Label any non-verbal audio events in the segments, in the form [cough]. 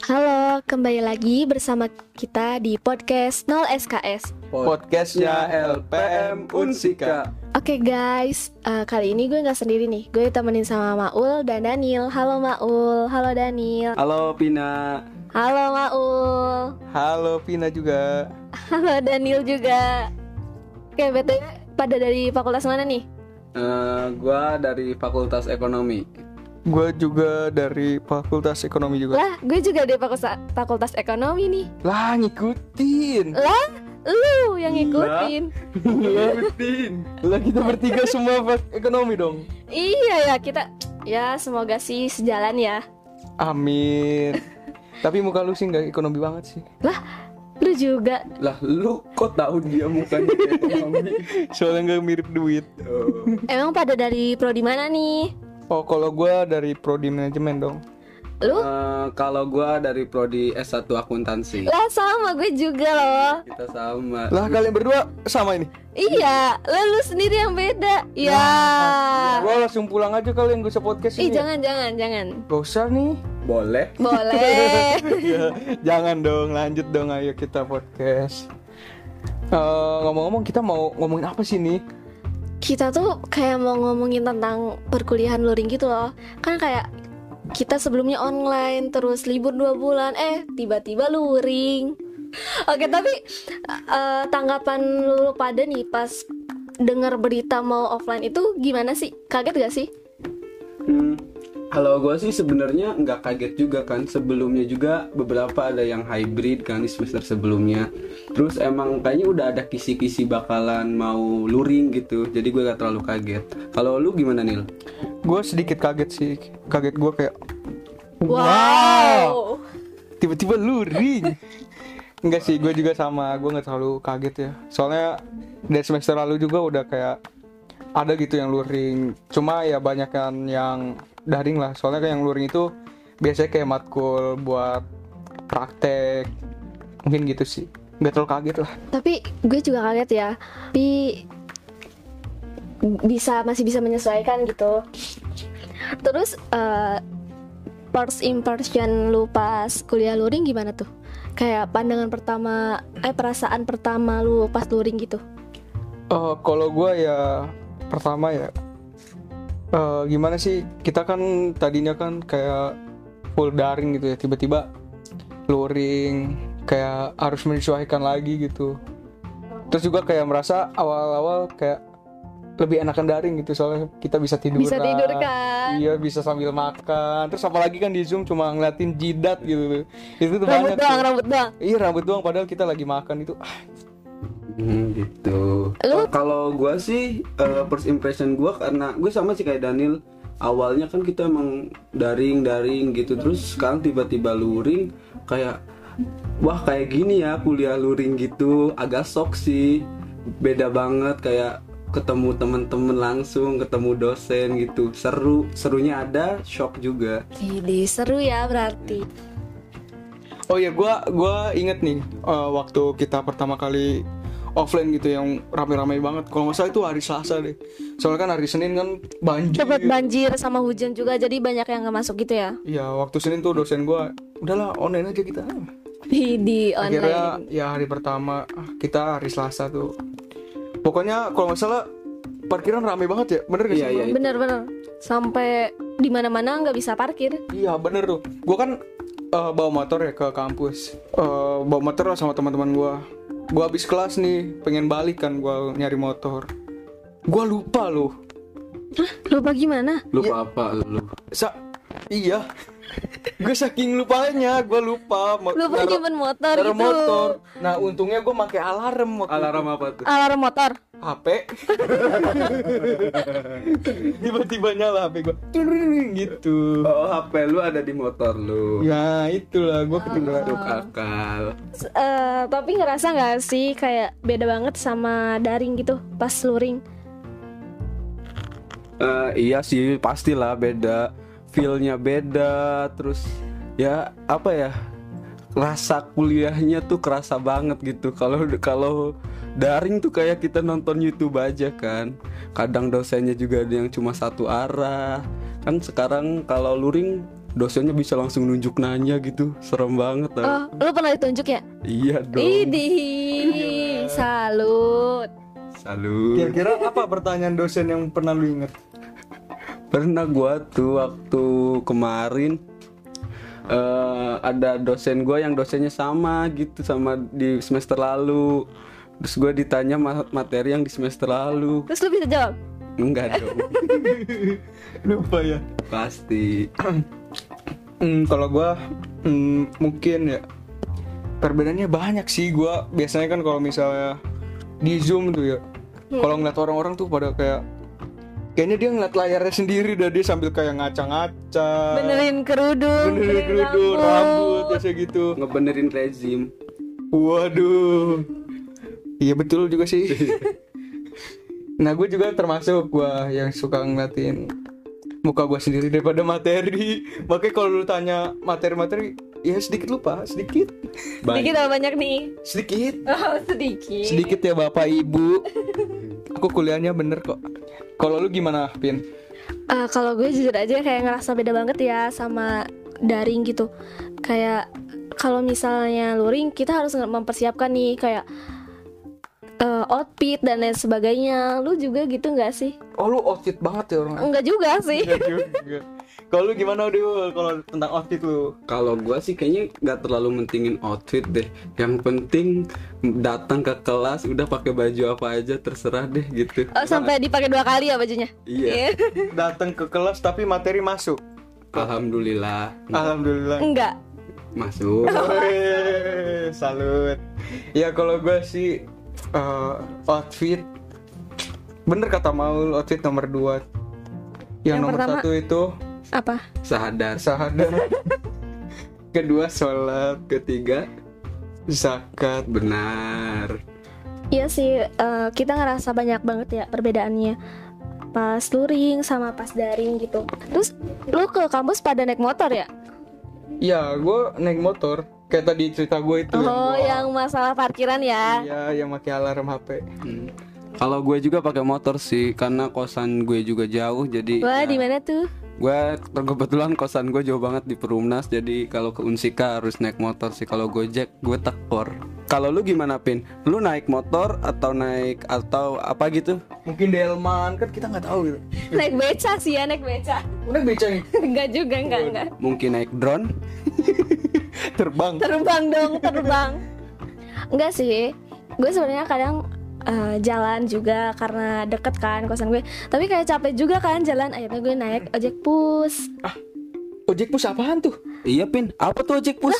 Halo, kembali lagi bersama kita di podcast 0 SKS. podcastnya LPM Unsika. Oke guys, eh, kali ini gue nggak sendiri nih. Gue temenin sama Maul dan Daniel. Halo Maul, halo Daniel. Halo Pina. Halo Maul, [laughs] Halo Pina juga. halo Daniel juga. Oke, btw pada dari fakultas mana nih? Eh, gua dari Fakultas Ekonomi. Gue juga dari Fakultas Ekonomi juga. Lah, gue juga dari fakultas, fakultas ekonomi nih. Lah ngikutin. Lah, lu yang ngikutin. [laughs] Ngikutin. Lah kita bertiga semua fak- ekonomi dong. Iya ya kita. Ya semoga sih sejalan ya. Amin. Tapi muka lu sih nggak ekonomi banget sih. Lu juga Lah Ah, lu kok tahu dia mukanya [laughs] kayak ekonomi? Soalnya nggak mirip duit. Oh. Emang pada dari prodi mana nih? Oh kalau gue dari Prodi Manajemen dong. Lu? Eh, kalau gua dari prodi S1 akuntansi. Lah sama gue juga loh. Kita sama. Lah kalian berdua sama ini. Iya, lah, lu sendiri yang beda. Ya. Gue langsung pulang aja kalian gak usah podcast Ih, ini. eh, jangan jangan jangan. Gak usah nih. Boleh. Boleh. Ya, jangan dong, lanjut dong ayo kita podcast. Eh, ngomong-ngomong kita mau ngomongin apa sih nih? kita tuh kayak mau ngomongin tentang perkuliahan luring gitu loh. Kan kayak kita sebelumnya online terus libur dua bulan eh tiba-tiba luring. Oke, tapi eh, tanggapan lu pada nih pas dengar berita mau offline itu gimana sih? Kaget gak sih? Hmm, Kalau gue sih sebenarnya nggak kaget juga kan sebelumnya juga beberapa ada yang hybrid kan di semester sebelumnya. Terus emang kayaknya udah ada kisi-kisi bakalan mau luring gitu. Jadi gue gak terlalu kaget. Kalau lu gimana Nil? gue sedikit kaget sih kaget gue kayak Wow. tiba-tiba luring enggak sih gue juga sama gue nggak terlalu kaget ya soalnya dari semester lalu juga udah kayak ada gitu yang luring cuma ya banyak kan yang daring lah soalnya kayak yang luring itu biasanya kayak matkul buat praktek mungkin gitu sih nggak terlalu kaget lah Tapi gue juga kaget ya. Tapi bisa masih bisa menyesuaikan gitu. Terus eh, first impression lu pas kuliah luring gimana tuh? Kayak pandangan pertama eh perasaan pertama lu pas luring gitu. Eh, kalau gue ya pertama ya eh, gimana sih kita kan tadinya kan kayak full daring gitu ya tiba-tiba luring kayak harus menyesuaikan lagi gitu terus juga kayak merasa awal-awal kayak lebih enakan daring gitu soalnya kita bisa tidur Bisa tidur kan? iya bisa sambil makan terus apalagi kan di zoom cuma ngeliatin jidat gitu tuh. itu Rambut tuh banyak doang, tuh. rambut doang. iya rambut doang padahal kita lagi makan itu ah, Hmm, gitu. Lu? Kalau gue sih eh, first impression gue karena gue sama sih kayak Daniel. Awalnya kan kita emang daring-daring gitu. Terus sekarang tiba-tiba luring kayak wah kayak gini ya kuliah luring gitu. Agak sok sih. Beda banget kayak ketemu temen-temen langsung, ketemu dosen gitu. Seru, serunya ada, shock juga. Jadi seru ya berarti. Oh iya, gua gua inget nih eh, waktu kita pertama kali offline gitu yang rame-rame banget. Kalau nggak salah itu hari Selasa deh. Soalnya kan hari Senin kan banjir. Cepet banjir sama hujan juga jadi banyak yang nggak masuk gitu ya. Iya, waktu Senin tuh dosen gua udahlah online aja kita. Di Akhirnya online. ya hari pertama ah, kita hari Selasa tuh. Pokoknya kalau nggak salah parkiran rame banget ya, bener gak sih? Iya, Bro? iya. itu. Bener-bener sampai di mana-mana nggak bisa parkir. Iya bener tuh Gue kan eh, bawa motor ya ke kampus Eh, Bawa motor lah sama teman-teman gue Gue habis kelas nih Pengen balik kan gue nyari motor Gue lupa loh Lupa gimana? Lu apa lu? Sa [laughs] Iya Gue saking lupanya Gue lupa mo- Lupa naro- nyimpen motor naro gitu. motor Nah untungnya gue pakai alarm waktu Alarm apa tuh? Alarm motor. [laughs] HP Tiba-tiba nyala HP gue Gitu Oh, HP lu ada di motor lu. Ya itulah gue ketinggalan Masuk akal. S- eh, tapi ngerasa nggak sih kayak beda banget sama daring gitu pas luring. Eh, iya sih pastilah beda feelnya beda terus ya apa ya rasa kuliahnya tuh kerasa banget gitu kalau kalau daring tuh kayak kita nonton YouTube aja kan kadang dosennya juga ada yang cuma satu arah kan sekarang kalau luring dosennya bisa langsung nunjuk nanya gitu serem banget tau. Eh. Oh, lu pernah ditunjuk ya? iya dong Idih, Iya. salut. salut Kira-kira apa pertanyaan dosen yang pernah lu inget? pernah gua tuh waktu kemarin eh ada dosen gua yang dosennya sama gitu sama di semester lalu terus gua ditanya ma- materi yang di semester lalu Terus lu bisa jawab? Eh. enggak dong [laughs] Lupa ya. pasti Hmm, kalau gua hmm, mungkin ya perbedaannya banyak sih gua biasanya kan kalau misalnya di zoom tuh ya kalau ngeliat orang-orang tuh pada kayak kayaknya dia ngeliat layarnya sendiri dah dia sambil kayak ngaca-ngaca Benerin kerudung, benerin kerudung rambut biasa gitu ngebenerin rezim waduh iya betul juga sih [laughs] nah gue juga termasuk gua yang suka ngeliatin muka gua sendiri daripada materi makanya kalau lu tanya materi-materi ya sedikit lupa sedikit Sedikit apa banyak nih? sedikit Oh, sedikit. sedikit ya bapak ibu aku kuliahnya bener kok kalau lu gimana pin Eh, kalau gue jujur aja kayak ngerasa beda banget ya sama daring gitu kayak kalau misalnya luring kita harus nge- mempersiapkan nih kayak eh, outfit dan lain sebagainya lu juga gitu nggak sih oh lu outfit banget ya orang enggak juga sih Iya juga. kalau lu gimana Dio kalau tentang outfit lu Kalau gua sih kayaknya nggak terlalu mentingin outfit deh. Yang penting datang ke kelas udah pakai baju apa aja terserah deh gitu. [laughs] Oh, sampai dipakai dua kali ya bajunya Iya. datang ke kelas tapi materi masuk Alhamdulillah Iya. [laughs] alhamdulillah enggak masuk. Weh, salut ya kalau gue sih eh, outfit bener kata Maul outfit nomor 2 yang, Yang nomor pertama- satu itu apa Sahadar syahadat kedua sholat ketiga zakat benar. Iya sih, eh, kita ngerasa banyak banget ya perbedaannya pas luring sama pas daring gitu. Terus lu ke kampus pada naik motor ya? ya gue naik motor kayak tadi cerita gue itu Oh, yang masalah parkiran ya? ya yang pakai alarm HP Hmm. Kalau gue juga pakai motor sih karena kosan gue juga jauh jadi Wah, di mana tuh? [laughs] gue kebetulan kosan gue jauh banget di Perumnas jadi kalau ke Unsika harus naik motor sih kalau gojek gue tekor kalau lu gimana pin lu naik motor atau naik atau apa gitu mungkin delman kan kita nggak tahu gitu Naik beca sih ya, naik beca. udah beca nih [laughs] enggak juga, enggak, enggak. mungkin naik drone terbang Terbang dong, terbang. Enggak sih. Gue sebenarnya kadang eh, jalan juga karena deket kan kosan gue. Tapi kayak capek juga kan jalan, akhirnya gue naik ojek pus. ojek pus apaan tuh iya pin apa tuh ojek pus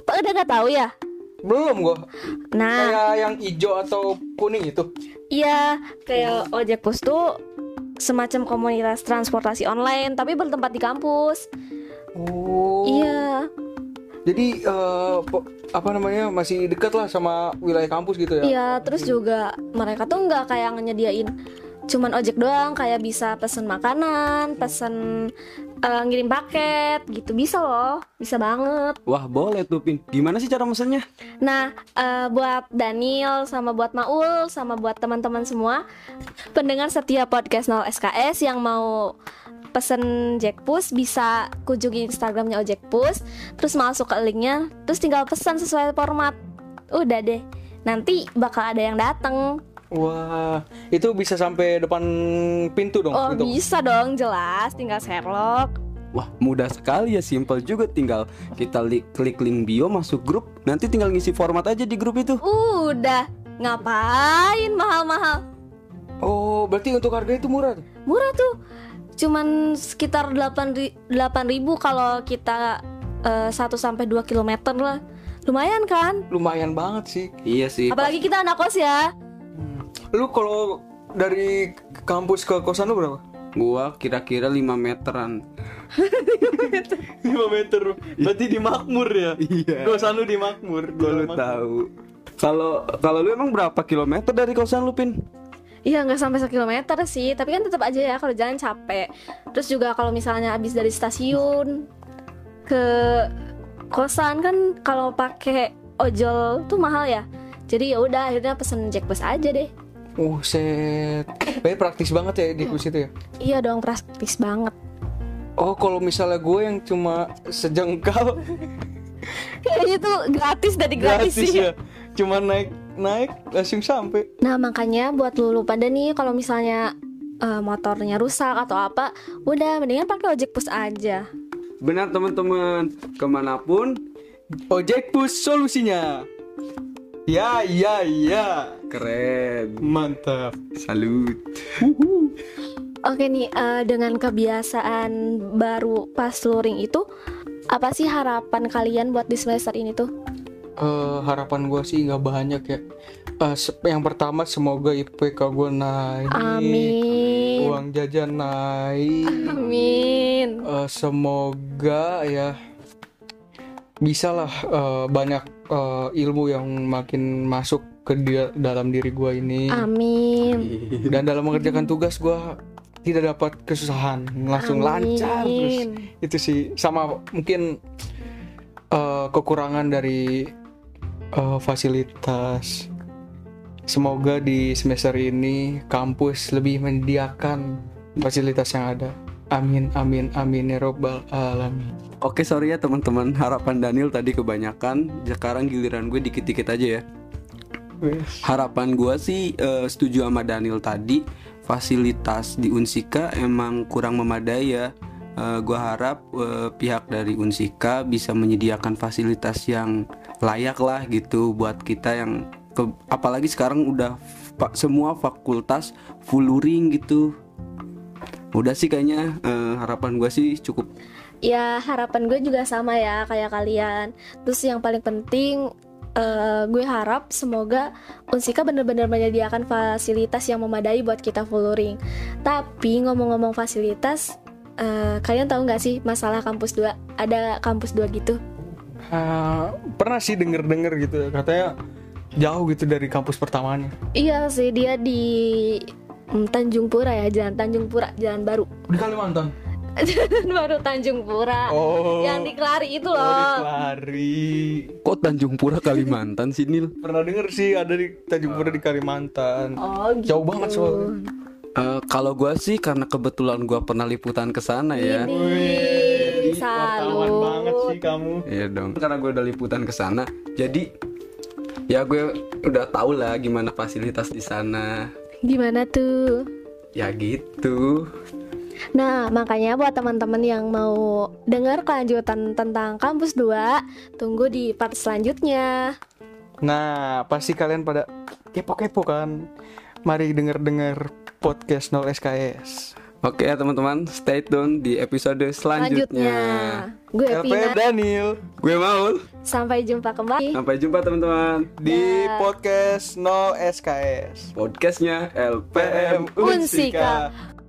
Apa udah nggak tahu ya? belum gue Nah, kayak yang hijau atau kuning itu Iya, kayak ojek pus tuh semacam komunitas transportasi online tapi bertempat di kampus. oh Iya, Jadi eh, po- apa namanya masih dekat lah sama wilayah kampus gitu ya? iya. Terus juga mereka tuh nggak kayak nyediain cuman ojek doang, kayak bisa pesen makanan, pesen eh, ngirim paket, gitu bisa loh, bisa banget. wah boleh tuh pin gimana sih cara mesennya Nah, eh, buat Daniel sama buat Maul sama buat teman-teman semua pendengar setia podcast 0 SKS yang mau pesen Jackpus bisa kunjungi Instagramnya Ojekpus terus masuk ke linknya terus tinggal pesan sesuai format udah deh nanti bakal ada yang datang Wah, itu bisa sampai depan pintu dong. oh gitu. bisa dong jelas tinggal Sherlock wah mudah sekali ya simple juga tinggal kita li- klik link bio masuk grup nanti tinggal ngisi format aja di grup itu udah ngapain mahal-mahal Oh, berarti untuk harga itu murah. tuh? murah tuh cuman sekitar 8 ribu kalau kita 1 sampai 2 km lah lumayan kan Lumayan banget sih. iya sih apalagi kita anak kos ya Lu kalau dari kampus ke kosan lu berapa? gua kira-kira 5 meteran 5 meter. Berarti di Makmur ya? Iya. Kosan lu di Makmur. Gua lu tahu. Kalau kalau lu emang berapa kilometer dari kosan lu pin? Iya nggak sampai 1 kilometer sih Tapi kan tetap aja ya kalau jalan capek Terus juga kalau misalnya abis dari stasiun Ke kosan kan kalau pakai ojol tuh mahal ya Jadi ya udah akhirnya pesen jackbus aja deh Oh, set. Kayaknya praktis banget ya di kampus itu ya. [laughs] Iya dong praktis banget oh kalau misalnya gue yang cuma sejengkal Kayaknya tuh gratis dari gratis, iya. gratis sih. ya cuma naik naik langsung sampai Nah makanya buat lulu pada nih kalau misalnya eh, motornya rusak atau apa, udah mendingan pakai ojek pus aja. Benar teman-teman, kemanapun ojek bus solusinya ya ya ya keren. mantap Salut. Oke nih eh, dengan kebiasaan baru pas luring itu, apa sih harapan kalian buat di semester ini tuh? Eh, harapan gue sih nggak banyak ya Eh, se- yang pertama semoga IPK gue naik Amin. uang jajan naik Amin. Eh, semoga ya bisa lah eh, banyak eh, ilmu yang makin masuk ke di- dalam diri gua ini Amin. dan dalam mengerjakan tugas gua tidak dapat kesusahan langsung lancar terus Amin. itu sih sama mungkin eh, kekurangan dari eh, fasilitas semoga di semester ini kampus lebih menyediakan fasilitas yang ada amin amin amin ya robbal alamin Oke sorry ya teman-teman, harapan Daniel tadi kebanyakan. Sekarang giliran gue dikit-dikit aja ya. Harapan gue sih eh, setuju sama Daniel tadi. Fasilitas di Unsika emang kurang memadai ya. Eh, gue harap eh, pihak dari Unsika bisa menyediakan fasilitas yang layak lah gitu buat kita yang ke- apalagi sekarang udah fa- semua fakultas full luring gitu. Udah sih kayaknya eh, harapan gue sih cukup ya harapan gue juga sama ya kayak kalian terus yang paling penting eh, gue harap semoga Unsika bener-bener menyediakan fasilitas yang memadai buat kita following tapi ngomong-ngomong fasilitas eh, kalian tahu nggak sih masalah kampus 2 ada kampus 2 gitu Ah, pernah sih denger denger gitu katanya jauh gitu dari kampus pertamanya iya sih dia di mm, Tanjung Pura ya jalan Tanjung Pura jalan baru [laughs] di Kalimantan jalan baru Tanjung Pura oh yang di Kelari itu oh, di loh Kelari. Kok Tanjung Pura Kalimantan sih Nil? pernah denger sih ada di Tanjung Pura di Kalimantan oh gitu jauh banget soalnya Eh, kalau gua sih karena kebetulan gua pernah liputan ke sana ya. Ini Iya. wartawan banget salut. sih kamu Iya dong. Karena gua udah liputan ke sana, jadi ya gue udah tau lah gimana fasilitas di sana. Gimana tuh? Ya gitu. Nah, makanya buat teman-teman yang mau dengar kelanjutan tentang kampus 2, tunggu di part selanjutnya. Nah, pasti kalian pada kepo-kepo kan? Mari denger-denger podcast 0 SKS. Oke ya teman-teman, stay tune di episode Selanjutnya. selanjutnya. Gue LP Vina, Daniel Gue mau. sampai jumpa kembali. Sampai jumpa teman-teman. di Dah. podcast 0 SKS. Podcastnya LPM Unsika. Unsika.